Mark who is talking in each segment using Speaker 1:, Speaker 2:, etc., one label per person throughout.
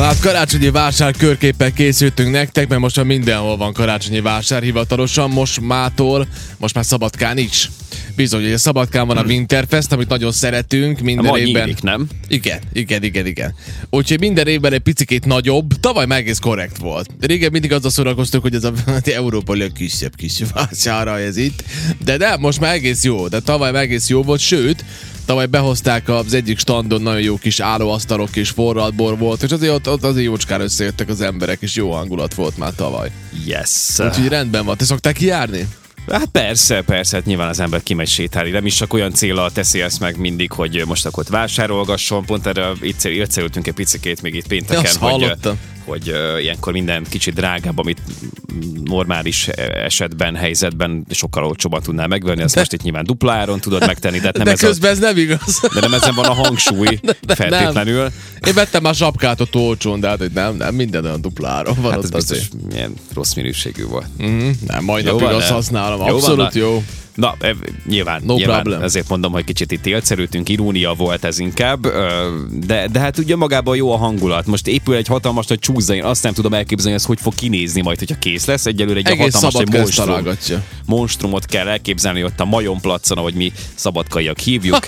Speaker 1: Hát karácsonyi vásár körképpel készültünk nektek, mert most már mindenhol van karácsonyi vásár hivatalosan, most mától, most már Szabadkán is. Bizony, ugye Szabadkán van a Winterfest, amit nagyon szeretünk minden
Speaker 2: Ma
Speaker 1: évben.
Speaker 2: nyílik, nem?
Speaker 1: Igen, igen, igen, igen. Úgyhogy minden évben egy picikét nagyobb, tavaly meg egész korrekt volt. Régen mindig azzal szórakoztunk, hogy ez a európai a kisebb kis vására ez itt, de nem, most már egész jó, de tavaly meg egész jó volt, sőt, tavaly behozták az egyik standon nagyon jó kis állóasztalok és forradbor volt, és azért ott, ott azért jócskán összejöttek az emberek, és jó hangulat volt már tavaly.
Speaker 2: Yes.
Speaker 1: Úgyhogy rendben van. Te szokták járni?
Speaker 2: Hát persze, persze, hát nyilván az ember kimegy sétálni, nem is csak olyan célral teszi ezt meg mindig, hogy most akkor ott vásárolgasson, pont erre itt élcelültünk egy picikét még itt pénteken,
Speaker 1: Azt
Speaker 2: hogy,
Speaker 1: hallottam.
Speaker 2: hogy ö, ilyenkor minden kicsit drágább, amit normális e- esetben, helyzetben sokkal olcsóban tudnál megvenni, azt most itt nyilván dupláron tudod megtenni, de hát nem
Speaker 1: de
Speaker 2: ez a,
Speaker 1: közben ez nem igaz.
Speaker 2: de nem ezen van a hangsúly feltétlenül. Hát
Speaker 1: Én vettem már sapkát ott olcsón, de hát hogy nem, nem, minden olyan dupláron van
Speaker 2: Hát
Speaker 1: ott
Speaker 2: ez biztos
Speaker 1: azért.
Speaker 2: milyen rossz minőségű volt.
Speaker 1: Nem, majd
Speaker 2: Jó
Speaker 1: napig
Speaker 2: van,
Speaker 1: azt
Speaker 2: ne?
Speaker 1: használom.
Speaker 2: Jó van,
Speaker 1: Abszolút
Speaker 2: na.
Speaker 1: jó.
Speaker 2: Na, e, nyilván,
Speaker 1: No
Speaker 2: nyilván
Speaker 1: problem.
Speaker 2: ezért mondom, hogy kicsit itt élszerültünk, irónia volt ez inkább, ö, de, de hát ugye magában jó a hangulat. Most épül egy hatalmas nagy csúzda, én azt nem tudom elképzelni, hogy ez hogy fog kinézni majd, hogyha kész lesz. Egyelőre egy
Speaker 1: Egész
Speaker 2: hatalmas
Speaker 1: szabad
Speaker 2: egy
Speaker 1: közt
Speaker 2: monstrum,
Speaker 1: találgatja.
Speaker 2: monstrumot kell elképzelni ott a majomplacon, ahogy mi szabadkaiak hívjuk.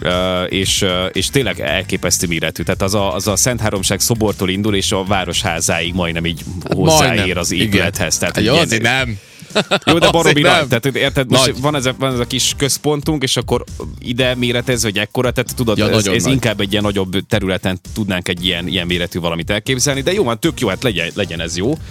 Speaker 2: Ö, és, ö, és tényleg elképesztő méretű. Tehát az a, az a Szent Háromság szobortól indul, és a városházáig majdnem így hozzáér
Speaker 1: Majdnem.
Speaker 2: az
Speaker 1: Igen.
Speaker 2: épülethez. Tehát
Speaker 1: Hát Jó,
Speaker 2: ilyen-
Speaker 1: azért nem.
Speaker 2: jó, de baromi
Speaker 1: Azért
Speaker 2: nagy.
Speaker 1: nem.
Speaker 2: Tehát érted, most
Speaker 1: Nagy.
Speaker 2: van ez, a, van ez a kis központunk, és akkor ide méretez, vagy ekkora, tehát tudod,
Speaker 1: Ja,
Speaker 2: ja, ez,
Speaker 1: nagyon
Speaker 2: ez
Speaker 1: nagy.
Speaker 2: inkább egy ilyen nagyobb területen tudnánk egy ilyen, ilyen méretű valamit elképzelni, de jó, van, tök jó, hát legyen, legyen ez jó.
Speaker 1: Legyen.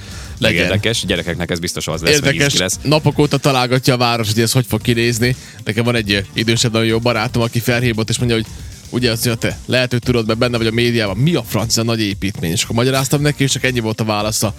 Speaker 2: Legyen. Érdekes, gyerekeknek ez biztos az lesz, Érdekes. hogy
Speaker 1: Érdekes,
Speaker 2: izgi lesz.
Speaker 1: napok óta találgatja a város, hogy ez hogy fog kinézni. Nekem van egy idősebb, nagyon jó barátom, aki felhívott, és mondja, hogy ugye azt mondja, te lehet, hogy tudod, mert benne vagy a médiában, mi a francia nagy építmény? És akkor magyaráztam neki, és csak ennyi volt a válasza.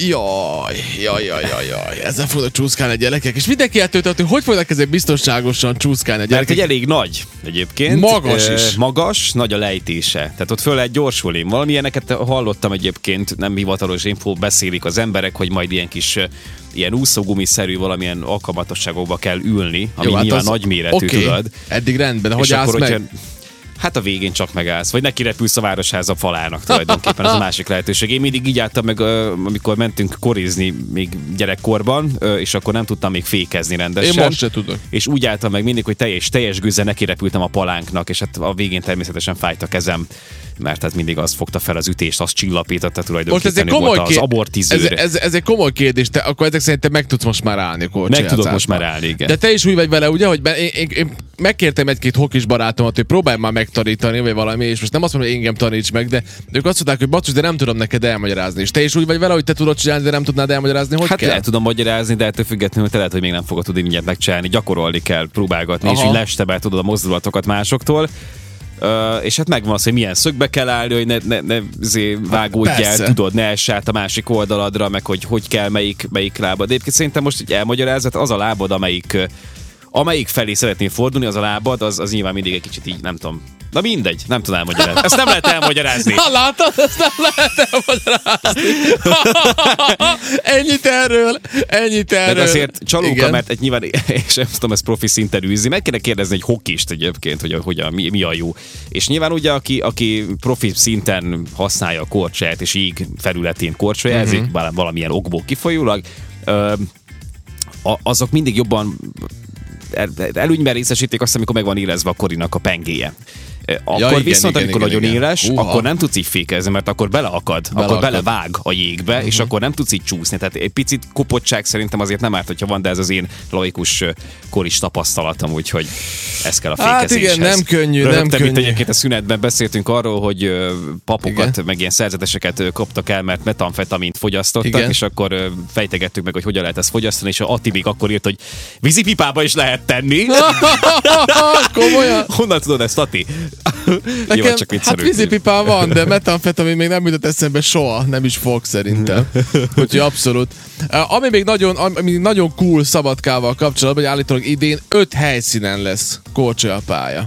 Speaker 1: Jaj, jaj, jaj, jaj, jaj, ezzel fognak csúszkálni a gyerekek. És mindenki eltöltött, hogy hogy fognak ezek biztonságosan csúszkálni a
Speaker 2: Mert
Speaker 1: gyerekek.
Speaker 2: egy elég nagy egyébként.
Speaker 1: Magas
Speaker 2: Ö,
Speaker 1: is.
Speaker 2: Magas, nagy a lejtése. Tehát ott föl lehet gyorsulni. Valamilyeneket hallottam egyébként, nem hivatalos info, beszélik az emberek, hogy majd ilyen kis ö, ilyen úszógumiszerű valamilyen alkalmatosságokba kell ülni, ami Jó, hát nyilván az... nagy méretű, okay.
Speaker 1: Oké,
Speaker 2: tudod.
Speaker 1: Eddig rendben, de hogy
Speaker 2: és
Speaker 1: állsz
Speaker 2: akkor,
Speaker 1: meg?
Speaker 2: hogyha- Hát a végén csak megállsz, vagy neki repülsz a városháza falának tulajdonképpen, ez a másik lehetőség. Én mindig így álltam meg, ö, amikor mentünk korizni még gyerekkorban, ö, és akkor nem tudtam még fékezni rendesen.
Speaker 1: Én most se tudok.
Speaker 2: És úgy álltam meg mindig, hogy teljes, teljes gőzzel neki repültem a palánknak, és hát a végén természetesen fájt a kezem, mert hát mindig az fogta fel az ütést, az csillapította
Speaker 1: Most
Speaker 2: tulajdonképpen,
Speaker 1: ez egy
Speaker 2: ő volt
Speaker 1: komoly
Speaker 2: az
Speaker 1: kér-
Speaker 2: abortizőr.
Speaker 1: Ez, ez, ez, egy komoly kérdés, te akkor ezek szerint te meg tudsz most már állni a
Speaker 2: meg
Speaker 1: korcsolyázásban.
Speaker 2: tudok most már állni, igen.
Speaker 1: De te is úgy vagy vele, ugye, hogy be, én, én, én megkértem egy-két hokis barátomat, hogy próbálj már megtanítani, vagy valami, és most nem azt mondom, hogy engem taníts meg, de ők azt mondták, hogy basszus, de nem tudom neked elmagyarázni. És te is úgy vagy vele, hogy te tudod csinálni, de nem tudnád elmagyarázni, hogy
Speaker 2: hát
Speaker 1: kell.
Speaker 2: el tudom magyarázni, de ettől függetlenül te lehet, hogy még nem fogod tudni mindjárt megcsinálni. Gyakorolni kell, próbálgatni, Aha.
Speaker 1: Aha.
Speaker 2: és így lestebel tudod a mozdulatokat másoktól. Ö, és hát megvan az, hogy milyen szögbe kell állni, hogy ne, ne, ne zé, vágódj el,
Speaker 1: persze.
Speaker 2: tudod, ne ess át a másik oldaladra, meg hogy hogy kell melyik, melyik lábad. Egyébként szerintem most így elmagyarázat, az a lábad, amelyik ö, amelyik felé szeretnél fordulni, az a lábad, az, az nyilván mindig egy kicsit így, nem tudom. Na mindegy, nem tudom elmagyarázni. Ezt nem lehet elmagyarázni.
Speaker 1: Na látod, ezt nem lehet elmagyarázni. ennyit erről, ennyit erről.
Speaker 2: De azért csalóka,
Speaker 1: Igen.
Speaker 2: Igen. mert egy nyilván, és nem tudom, ez profi szinten űzi. Meg kéne kérdezni egy hokist egyébként, hogy, a, hogy a, mi, mi, a jó. És nyilván ugye, aki, aki profi szinten használja a korcsaját, és így felületén korcsajázik,
Speaker 1: Mhm.
Speaker 2: uh-huh. valamilyen okból kifolyólag, ö, a- azok mindig jobban el- előnyben részesítik azt, amikor meg van érezve a korinak a pengéje. Ö, Akkor ja,
Speaker 1: igen,
Speaker 2: igen, viszont,
Speaker 1: igen,
Speaker 2: igen, amikor
Speaker 1: igen,
Speaker 2: igen, nagyon
Speaker 1: igen.
Speaker 2: igen. éles,
Speaker 1: Uha.
Speaker 2: Uha. akkor nem tudsz így fékezni, mert akkor beleakad, beleakad.
Speaker 1: Beleakad. Mhm.
Speaker 2: akkor belevág a jégbe, uh-huh. és akkor nem tudsz így csúszni. Tehát egy picit kopottság szerintem azért nem árt, hogyha van, de ez az én laikus ö, koris tapasztalatom, úgyhogy ez kell a
Speaker 1: Hát
Speaker 2: fékezéshez.
Speaker 1: igen, nem könnyű, nem
Speaker 2: Röhögtem
Speaker 1: könnyű.
Speaker 2: Itt egyébként a szünetben beszéltünk arról, hogy ö, papokat,
Speaker 1: Igen.
Speaker 2: igen. meg ilyen szerzeteseket ö, koptak el, mert metamfetamint fogyasztottak,
Speaker 1: Igen.
Speaker 2: igen. és akkor ö, fejtegettük meg, hogy hogyan lehet ezt fogyasztani, és a Atibik akkor írt, hogy vízipipába is lehet tenni.
Speaker 1: Komolyan.
Speaker 2: Honnan tudod ezt, Ati? Nekem, Jó,
Speaker 1: Nekem, hát
Speaker 2: csak viccelődtünk.
Speaker 1: vízipipám van, de metamfetamin még nem jutott eszembe soha, nem is fog szerintem. Úgyhogy abszolút. Uh, Ami még nagyon, ami nagyon cool Szabadkával kapcsolatban, hogy állítólag idén öt helyszínen lesz korcsolya a pálya.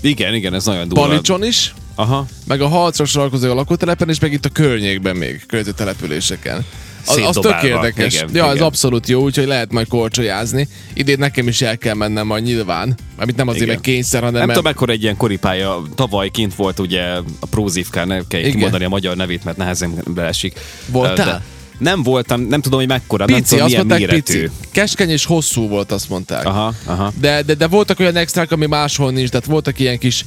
Speaker 2: Igen, igen, ez nagyon durva.
Speaker 1: Palicson is,
Speaker 2: Aha.
Speaker 1: meg a harcos sarkozó a lakótelepen, és meg itt a környékben még, környező településeken. Az, az tök
Speaker 2: szétdobálva.
Speaker 1: érdekes.
Speaker 2: Igen,
Speaker 1: Igen, ja, ez
Speaker 2: igen.
Speaker 1: abszolút jó, úgyhogy lehet majd korcsolyázni. Idén nekem is el kell mennem a nyilván. Amit nem azért,
Speaker 2: Igen.
Speaker 1: mert kényszer, hanem
Speaker 2: Nem
Speaker 1: mert
Speaker 2: tudom, mekkora egy ilyen koripálya. Tavaly kint volt ugye a Prózívkán, nem
Speaker 1: Igen.
Speaker 2: kell Igen. kimondani a magyar nevét, mert nehezen beesik.
Speaker 1: Voltál?
Speaker 2: De nem voltam, nem tudom, hogy mekkora, nem
Speaker 1: pici,
Speaker 2: tudom,
Speaker 1: azt
Speaker 2: milyen
Speaker 1: mondták
Speaker 2: méretű.
Speaker 1: pici. Keskeny és hosszú volt, azt mondták.
Speaker 2: Aha, aha.
Speaker 1: De, de, de voltak olyan extrák, ami máshol nincs, tehát voltak ilyen kis,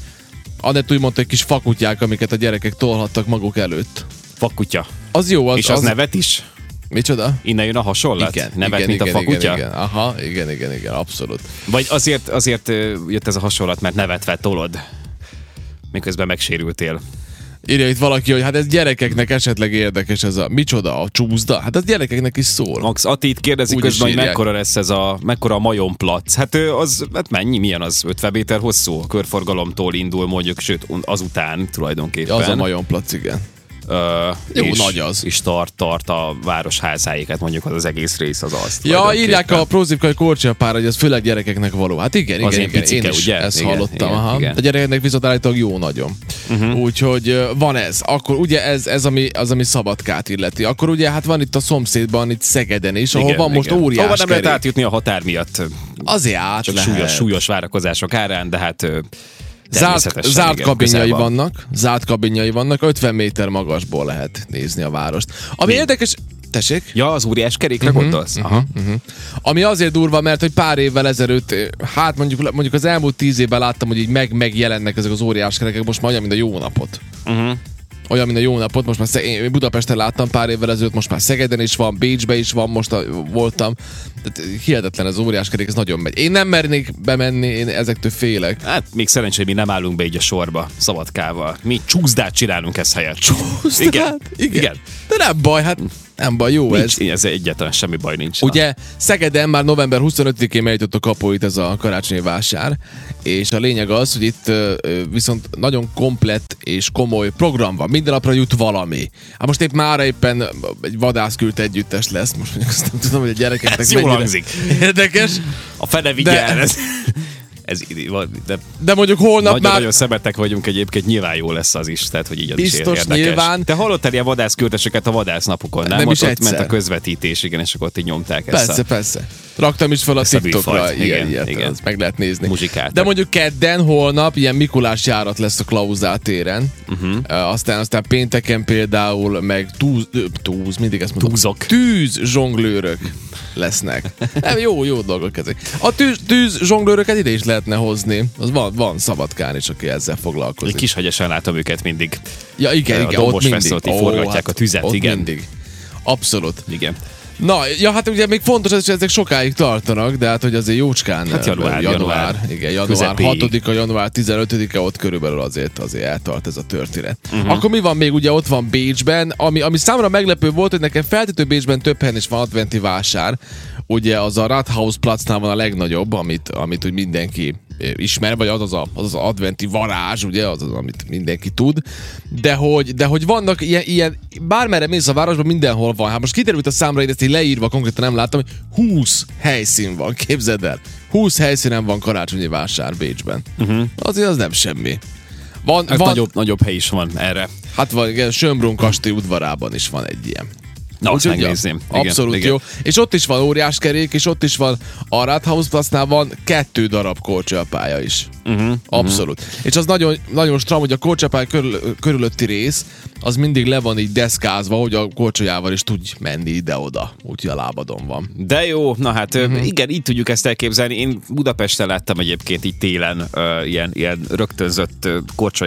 Speaker 1: Anett úgy mondta, hogy kis fakutyák, amiket a gyerekek tolhattak maguk előtt.
Speaker 2: Fakutya.
Speaker 1: Az jó, az...
Speaker 2: És az, nevet is?
Speaker 1: Micsoda?
Speaker 2: Innen jön a hasonlat? nevet, mint a fakutya?
Speaker 1: Igen, igen, aha, igen, igen, igen, abszolút.
Speaker 2: Vagy azért, azért ö, jött ez a hasonlat, mert nevetve tolod, miközben megsérültél.
Speaker 1: Írja itt valaki, hogy hát ez gyerekeknek esetleg érdekes ez a micsoda, a csúzda. Hát az gyerekeknek is szól.
Speaker 2: Max Atit kérdezik
Speaker 1: Úgy
Speaker 2: Úgy
Speaker 1: is
Speaker 2: közben, hogy
Speaker 1: írják.
Speaker 2: mekkora lesz ez a, mekkora a majomplac. Hát ö, az, hát mennyi, milyen az 50 méter hosszú a körforgalomtól indul mondjuk, sőt un- azután tulajdonképpen.
Speaker 1: Az a majomplac, igen.
Speaker 2: Ö,
Speaker 1: Jó,
Speaker 2: és,
Speaker 1: nagy az.
Speaker 2: És tart, tart a városházáig, hát mondjuk az, az egész rész az az.
Speaker 1: Ja,
Speaker 2: tulajdonképpen.
Speaker 1: írják a prózivkai korcsapára, hogy ez főleg gyerekeknek való. Hát igen, igen,
Speaker 2: Az
Speaker 1: igen.
Speaker 2: ilyen picike,
Speaker 1: én is
Speaker 2: ugye?
Speaker 1: ezt
Speaker 2: Igen,
Speaker 1: hallottam.
Speaker 2: igen,
Speaker 1: aha.
Speaker 2: igen. Mhm.
Speaker 1: A gyerekeknek viszont állítólag jó nagyon. Uh-huh. Úgyhogy ö, van ez. Akkor ugye ez, ez ami, az, ami szabadkát illeti. Akkor ugye hát van itt a szomszédban, itt Szegeden is, ahol
Speaker 2: Igen,
Speaker 1: van most
Speaker 2: igen.
Speaker 1: óriás
Speaker 2: Ahova nem lehet
Speaker 1: kerék.
Speaker 2: átjutni a határ miatt.
Speaker 1: Azért át
Speaker 2: Csak
Speaker 1: lehet.
Speaker 2: súlyos, súlyos várakozások árán, de hát ö,
Speaker 1: Zárt,
Speaker 2: természetesen,
Speaker 1: zárt
Speaker 2: igen,
Speaker 1: kabinjai
Speaker 2: közel van.
Speaker 1: vannak, zárt kabinjai vannak, 50 méter magasból lehet nézni a várost. Ami
Speaker 2: Mi?
Speaker 1: érdekes, tessék?
Speaker 2: Ja, az óriás kerékre
Speaker 1: Mhm,
Speaker 2: gondolsz? Aha.
Speaker 1: Ami azért durva, mert hogy pár évvel ezelőtt, hát mondjuk, mondjuk az elmúlt tíz évben láttam, hogy így meg megjelennek ezek az óriás kerekek, most már olyan, mint a jó napot.
Speaker 2: Mhm.
Speaker 1: Olyan, mint a jó napot, most már Szeg- én Budapesten láttam pár évvel ezelőtt, most már Szegeden is van, Bécsben is van, most a, voltam. Tehát hihetetlen ez óriás kerék, ez nagyon megy. Én nem mernék bemenni, én ezektől félek.
Speaker 2: Hát még szerencsé, mi nem állunk be így a sorba szabadkával. Mi csúszdát csinálunk ez helyett.
Speaker 1: Pusztán,
Speaker 2: Igen.
Speaker 1: Hát, igen.
Speaker 2: Igen.
Speaker 1: De nem baj, hát nem baj, jó ez.
Speaker 2: Nincs, ez egyáltalán semmi baj nincs.
Speaker 1: Ugye Szegeden már november 25-én megjutott a kapuit ez a karácsonyi vásár, és a lényeg az, hogy itt ö, ö, viszont nagyon komplett és komoly program van. Minden napra jut valami. Hát most épp már éppen egy vadászkült együttes lesz, most mondjuk azt nem tudom, hogy a gyerekeknek
Speaker 2: Ez jól
Speaker 1: mennyire
Speaker 2: hangzik.
Speaker 1: Érdekes,
Speaker 2: A fene vigyel,
Speaker 1: De-
Speaker 2: ez, ez így van, de
Speaker 1: de mondjuk holnap
Speaker 2: nagyon,
Speaker 1: már...
Speaker 2: nagyon szemetek vagyunk egyébként, nyilván jó lesz az is, tehát hogy így az is
Speaker 1: Biztos,
Speaker 2: érdekes.
Speaker 1: nyilván.
Speaker 2: Te hallottál ilyen vadászküldeseket a vadásznapokon, nem?
Speaker 1: Nem
Speaker 2: ott,
Speaker 1: is
Speaker 2: ott
Speaker 1: egyszer.
Speaker 2: ment a közvetítés, igen, és akkor ott így nyomták ezt
Speaker 1: Persze,
Speaker 2: a...
Speaker 1: persze. Raktam is fel a
Speaker 2: Ezt a
Speaker 1: TikTokra
Speaker 2: műfajt.
Speaker 1: ilyen,
Speaker 2: Igen,
Speaker 1: ilyet,
Speaker 2: igen.
Speaker 1: Azt meg lehet nézni.
Speaker 2: Muzsikáltak.
Speaker 1: De mondjuk kedden, holnap ilyen Mikulás járat lesz a Klauzál téren.
Speaker 2: Mhm.
Speaker 1: Uh-huh. Aztán, aztán pénteken például meg túz, ö, túz mindig ezt mondom.
Speaker 2: Túzok.
Speaker 1: Tűz zsonglőrök lesznek. Nem, jó, jó dolgok ezek. A tűz, tűz zsonglőröket ide is lehetne hozni. Az van, van Szabadkán is, aki ezzel foglalkozik.
Speaker 2: Kishegyesen látom őket mindig.
Speaker 1: Ja, igen,
Speaker 2: a
Speaker 1: igen, ott
Speaker 2: Dombos
Speaker 1: mindig. hát
Speaker 2: Fesztivalt, így forgatják a tüzet,
Speaker 1: ott
Speaker 2: igen.
Speaker 1: mindig. Abszolút.
Speaker 2: Igen.
Speaker 1: Na, ja, hát ugye még fontos, ez, hogy ezek sokáig tartanak, de hát hogy azért jócskán.
Speaker 2: Hát január, január.
Speaker 1: igen, január
Speaker 2: Közepéig.
Speaker 1: 6-a, január 15-e, ott körülbelül azért azért eltart ez a történet. Uh-huh. Akkor mi van még, ugye ott van Bécsben, ami, ami számomra meglepő volt, hogy nekem feltétlenül Bécsben több helyen is van adventi vásár. Ugye az a Rathaus placnál van a legnagyobb, amit, amit úgy mindenki eh, ismer, vagy az az, a, az az adventi varázs, ugye, az az, amit mindenki tud, de hogy, de hogy vannak ilyen, ilyen, bármerre mész a városban, mindenhol van. Hát most kiderült a számra, én ezt így leírva konkrétan nem láttam, hogy 20 helyszín van, képzeld el. 20 helyszínen van karácsonyi vásár Bécsben. Uh-huh. Azért az nem semmi. Van,
Speaker 2: Mhm. Hát
Speaker 1: van,
Speaker 2: nagyobb, nagyobb hely is van erre.
Speaker 1: hát van, igen, Sömbrun kastély udvarában is van egy ilyen.
Speaker 2: Na, azt
Speaker 1: Úgyhogy, ja,
Speaker 2: megnézném. Igen,
Speaker 1: Abszolút
Speaker 2: igen.
Speaker 1: jó. És ott is van óriás kerék, és ott is van a Rathaus Placnál van kettő darab korcsapája is.
Speaker 2: Mhm,
Speaker 1: Uh-huh, abszolút. Uh-huh. És az nagyon, nagyon stram, hogy a korcsapály körül, körülötti rész, az mindig le van így deszkázva, hogy a korcsolyával is tudj menni ide-oda. Úgyhogy a lábadon van.
Speaker 2: De jó, na hát
Speaker 1: Mhm.
Speaker 2: mm-hmm. igen, így tudjuk ezt elképzelni. Én Budapesten láttam egyébként így télen ö, ilyen, ilyen rögtönzött ö,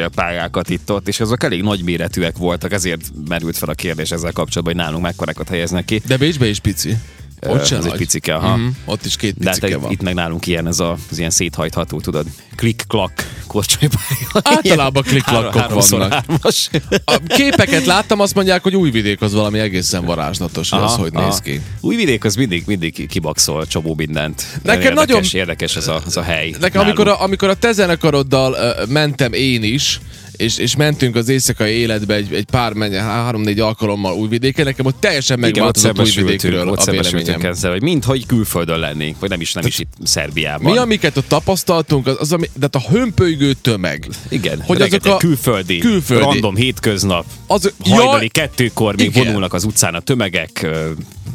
Speaker 2: korcsolyapályákat itt ott, és azok elég nagy méretűek voltak, ezért merült fel a kérdés ezzel kapcsolatban, hogy nálunk mekkorákat helyeznek ki.
Speaker 1: De Bécsben is pici. Ott
Speaker 2: Ö,
Speaker 1: sem
Speaker 2: az
Speaker 1: nagy.
Speaker 2: egy picike, aha.
Speaker 1: Mhm, Ott is két
Speaker 2: Ah. De hát
Speaker 1: picike
Speaker 2: itt,
Speaker 1: van.
Speaker 2: itt meg nálunk ilyen ez a, az ilyen széthajtható, tudod, klik-klak korcsolyapálya.
Speaker 1: Általában
Speaker 2: Ilyen
Speaker 1: Hát, klik-klakkok
Speaker 2: három- háromszor
Speaker 1: vannak.
Speaker 2: hármas.
Speaker 1: A képeket láttam, azt mondják, hogy Újvidék az valami egészen varázslatos, hogy az hogy néz ki.
Speaker 2: Újvidék az mindig, mindig kibaxol csomó mindent.
Speaker 1: Nekem
Speaker 2: érdekes,
Speaker 1: nagyon-
Speaker 2: Érdekes ez a, ez a hely.
Speaker 1: Nekem
Speaker 2: nálunk.
Speaker 1: amikor a, amikor a te zenekaroddal ö, mentem én is, és, és mentünk az éjszakai életbe egy, egy pár, menye, három-négy alkalommal újvidéken, nekem ott teljesen
Speaker 2: Igen, ott
Speaker 1: megváltozott
Speaker 2: szembesültünk,
Speaker 1: újvidékről
Speaker 2: ott
Speaker 1: a véleményem.
Speaker 2: szembesültünk ezzel, hogy minthogy külföldön lennénk, vagy nem is, nem is itt Szerbiában.
Speaker 1: Mi, amiket ott tapasztaltunk, az, az ami, de hát a hömpölygő tömeg.
Speaker 2: Igen,
Speaker 1: Hogy
Speaker 2: hogy
Speaker 1: azok a
Speaker 2: külföldi,
Speaker 1: külföldi.
Speaker 2: külföldi, random hétköznap,
Speaker 1: Az-
Speaker 2: az,
Speaker 1: Jaj!
Speaker 2: hajnali kettőkor még
Speaker 1: Igen.
Speaker 2: Igen. vonulnak az utcán a tömegek, ö,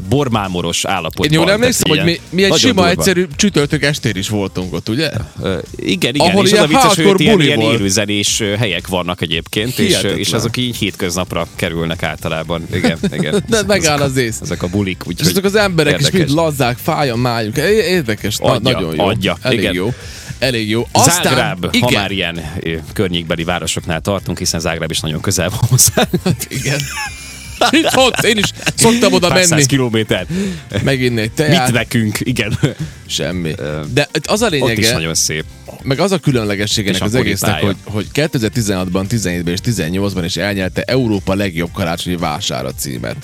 Speaker 2: bormámoros állapotban.
Speaker 1: Én jól
Speaker 2: Tehát
Speaker 1: emlékszem, hogy
Speaker 2: ilyen-
Speaker 1: mi, mi egy
Speaker 2: nagyon
Speaker 1: sima,
Speaker 2: durva.
Speaker 1: egyszerű csütörtök estér is voltunk ott, ugye?
Speaker 2: Ö, Igen, igen,
Speaker 1: Ahol
Speaker 2: és az
Speaker 1: ilyen
Speaker 2: a vicces, hogy
Speaker 1: hardcore
Speaker 2: ott ilyen,
Speaker 1: buli
Speaker 2: ilyen
Speaker 1: volt.
Speaker 2: élőzenés ö, helyek vannak egyébként, és, ö,
Speaker 1: Hihetetlen.
Speaker 2: és azok így hétköznapra kerülnek általában. Igen, igen.
Speaker 1: De megáll
Speaker 2: ezek,
Speaker 1: az ész.
Speaker 2: ezek a bulik,
Speaker 1: És azok
Speaker 2: úgyhogy
Speaker 1: az emberek
Speaker 2: érdekes.
Speaker 1: is mind lazzák, fáj a májuk. É- Érdekes, na-
Speaker 2: Adja,
Speaker 1: nagyon jó.
Speaker 2: adja,
Speaker 1: Elég
Speaker 2: igen.
Speaker 1: jó. Elég jó.
Speaker 2: Zágráb,
Speaker 1: igen,
Speaker 2: ha már ilyen ö, környékbeli városoknál tartunk, hiszen Zágráb is nagyon közel van hozzá.
Speaker 1: Igen. Itt ott, én is szoktam oda
Speaker 2: Pár száz
Speaker 1: menni,
Speaker 2: kilométer.
Speaker 1: meginni egy
Speaker 2: Mit
Speaker 1: teát.
Speaker 2: nekünk, igen.
Speaker 1: Semmi. De itt az a
Speaker 2: Ott is
Speaker 1: lényege,
Speaker 2: nagyon szép.
Speaker 1: meg az a különlegességének
Speaker 2: És
Speaker 1: az
Speaker 2: akkor
Speaker 1: egésznek,
Speaker 2: itája.
Speaker 1: hogy, hogy 2016-ban, 17-ben és 18-ban is elnyerte Európa legjobb karácsonyi vására címet.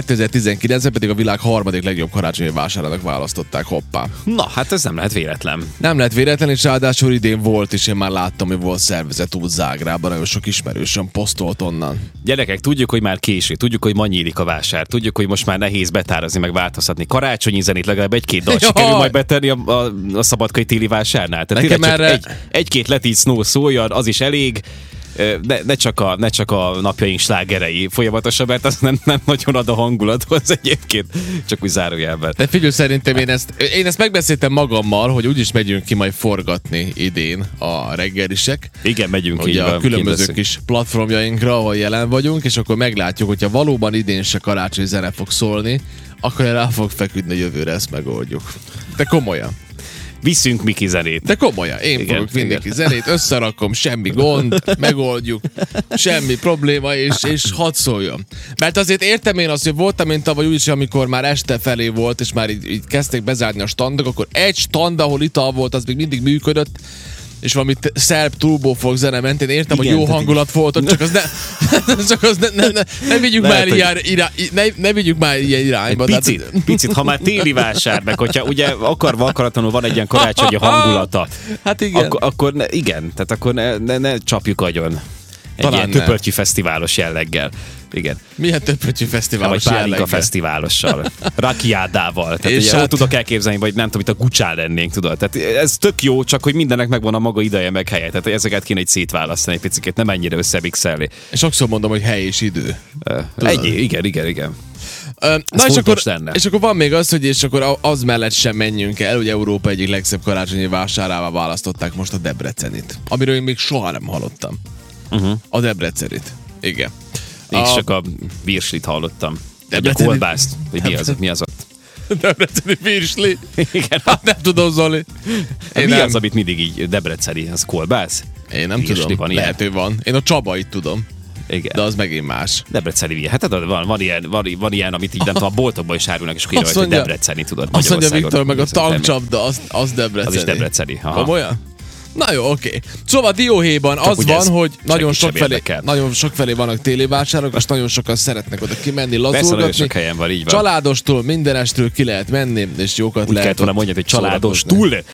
Speaker 1: 2019-ben pedig a világ harmadik legjobb karácsonyi vásárának választották, hoppá.
Speaker 2: Na, hát ez nem lehet véletlen.
Speaker 1: Nem lett véletlen, és ráadásul idén volt, és én már láttam, hogy volt szervezet út Zágrában, nagyon sok ismerősöm posztolt onnan.
Speaker 2: Gyerekek, tudjuk, hogy már késő, tudjuk, hogy ma nyílik a vásár, tudjuk, hogy most már nehéz betárazni, meg változtatni. Karácsonyi zenét legalább egy-két dal
Speaker 1: Jaj!
Speaker 2: sikerül majd betenni a, a, a szabadkai téli vásárnál. Tehát
Speaker 1: Nekem
Speaker 2: tényleg csak
Speaker 1: erre-
Speaker 2: egy, egy-két letít snow szóljon, az is elég. Ö, Ne, ne, csak a, ne csak a napjaink slágerei folyamatosan, mert az nem, nem nagyon ad a hangulathoz egyébként, csak úgy zárójelben.
Speaker 1: De figyelj, szerintem én ezt, én ezt megbeszéltem magammal, hogy úgyis megyünk ki majd forgatni idén a reggelisek.
Speaker 2: Igen, megyünk így
Speaker 1: Ugye
Speaker 2: van,
Speaker 1: a
Speaker 2: kint
Speaker 1: különböző
Speaker 2: leszünk.
Speaker 1: kis platformjainkra, ahol jelen vagyunk, és akkor meglátjuk, hogyha valóban idén se karácsonyi zene fog szólni, akkor rá fog feküdni a jövőre, ezt megoldjuk. De komolyan.
Speaker 2: Viszünk Miki zenét.
Speaker 1: De komolyan, én igen,
Speaker 2: Igen,
Speaker 1: fogok vinni
Speaker 2: igen.
Speaker 1: ki zenét, összerakom, semmi gond, megoldjuk, semmi probléma, és, és hadd szóljon. Mert azért értem én azt, hogy voltam én tavaly úgyis, amikor már este felé volt, és már így, így kezdték bezárni a standok, akkor egy stand, ahol ital volt, az még mindig működött, és valami t- szerb turbófog zene ment, én értem,
Speaker 2: Igen,
Speaker 1: hogy jó
Speaker 2: tehát
Speaker 1: hangulat volt, ott, csak az ne, csak az ne, ne, ne, ne vigyük
Speaker 2: Lehet,
Speaker 1: már
Speaker 2: hogy-
Speaker 1: ilyen, irá, ne, ne vigyük már ilyen irányba. tehát-
Speaker 2: Picit, picit, ha már téli vásár, meg hogyha ugye akarva akaratlanul van egy ilyen karácsonyi hangulata,
Speaker 1: Hát igen.
Speaker 2: akkor, akkor ne, igen, tehát akkor ne, ne, ne csapjuk agyon. Egy
Speaker 1: Talán
Speaker 2: Talán ilyen
Speaker 1: nem.
Speaker 2: töpörtyű fesztiválos jelleggel. Igen.
Speaker 1: Milyen többöcsű
Speaker 2: Vagy
Speaker 1: fesztiválos
Speaker 2: pálinka
Speaker 1: jelleggel.
Speaker 2: fesztiválossal, rakiáddával. Tehát
Speaker 1: És
Speaker 2: és
Speaker 1: hát-
Speaker 2: hát... ott tudok elképzelni, vagy nem tudom, itt a gucsán lennénk, tudod. Tehát ez tök jó, csak hogy mindennek megvan a maga ideje, meg helye. Tehát ezeket kéne egy szétválasztani egy picit, nem ennyire összebixelni.
Speaker 1: És sokszor mondom, hogy hely és idő.
Speaker 2: Ö, Egy, igen, igen, igen.
Speaker 1: Ö, Na és akkor,
Speaker 2: fontos lenne.
Speaker 1: és akkor van még az, hogy és akkor a- az mellett sem menjünk el, hogy Európa egyik legszebb karácsonyi vásárává választották most a Debrecenit. Amiről én még soha nem hallottam.
Speaker 2: Mhm.
Speaker 1: Uh-huh. A Debrecenit. Igen.
Speaker 2: Én
Speaker 1: A- hát-
Speaker 2: is csak a virslit hallottam. Egy a
Speaker 1: Debreceni-
Speaker 2: kolbászt, hogy mi az, mi az a...
Speaker 1: Debreceni virsli.
Speaker 2: Igen.
Speaker 1: Hát nem tudom, Zoli.
Speaker 2: mi
Speaker 1: nem,
Speaker 2: az, amit mindig így Debreceni, az kolbász?
Speaker 1: én nem
Speaker 2: Virsli
Speaker 1: tudom.
Speaker 2: Van ilyen?
Speaker 1: Lehet, hogy van. Én a Csabait tudom,
Speaker 2: Igen.
Speaker 1: de az megint más.
Speaker 2: Debreceni virsli. Hát tudod, van, van, ilyen, van, van ilyen, amit így nem tudom, a boltokban is árulnak, és akkor
Speaker 1: Azt
Speaker 2: írja, hogy
Speaker 1: mondja-
Speaker 2: Debreceni, tudod.
Speaker 1: Azt mondja
Speaker 2: Magyarországon.
Speaker 1: Viktor, meg a
Speaker 2: Szerintem-
Speaker 1: tankcsapda, az, az Debreceni.
Speaker 2: Az is Debreceni. Aha.
Speaker 1: Komolyan? Na jó, oké. Szóval Dióhéjban az
Speaker 2: ugye
Speaker 1: van,
Speaker 2: ez
Speaker 1: hogy nagyon
Speaker 2: senki sem
Speaker 1: sok, felé,
Speaker 2: érdekel.
Speaker 1: nagyon sok felé vannak téli vásárok, és nagyon sokan szeretnek oda kimenni,
Speaker 2: Persze, nagyon
Speaker 1: lazulgatni.
Speaker 2: sok helyen van, így van.
Speaker 1: Családostól, mindenestől ki lehet menni, és jókat
Speaker 2: Úgy
Speaker 1: lehet
Speaker 2: kellett volna
Speaker 1: ott
Speaker 2: mondjad, hogy családos
Speaker 1: szórakozni.
Speaker 2: túl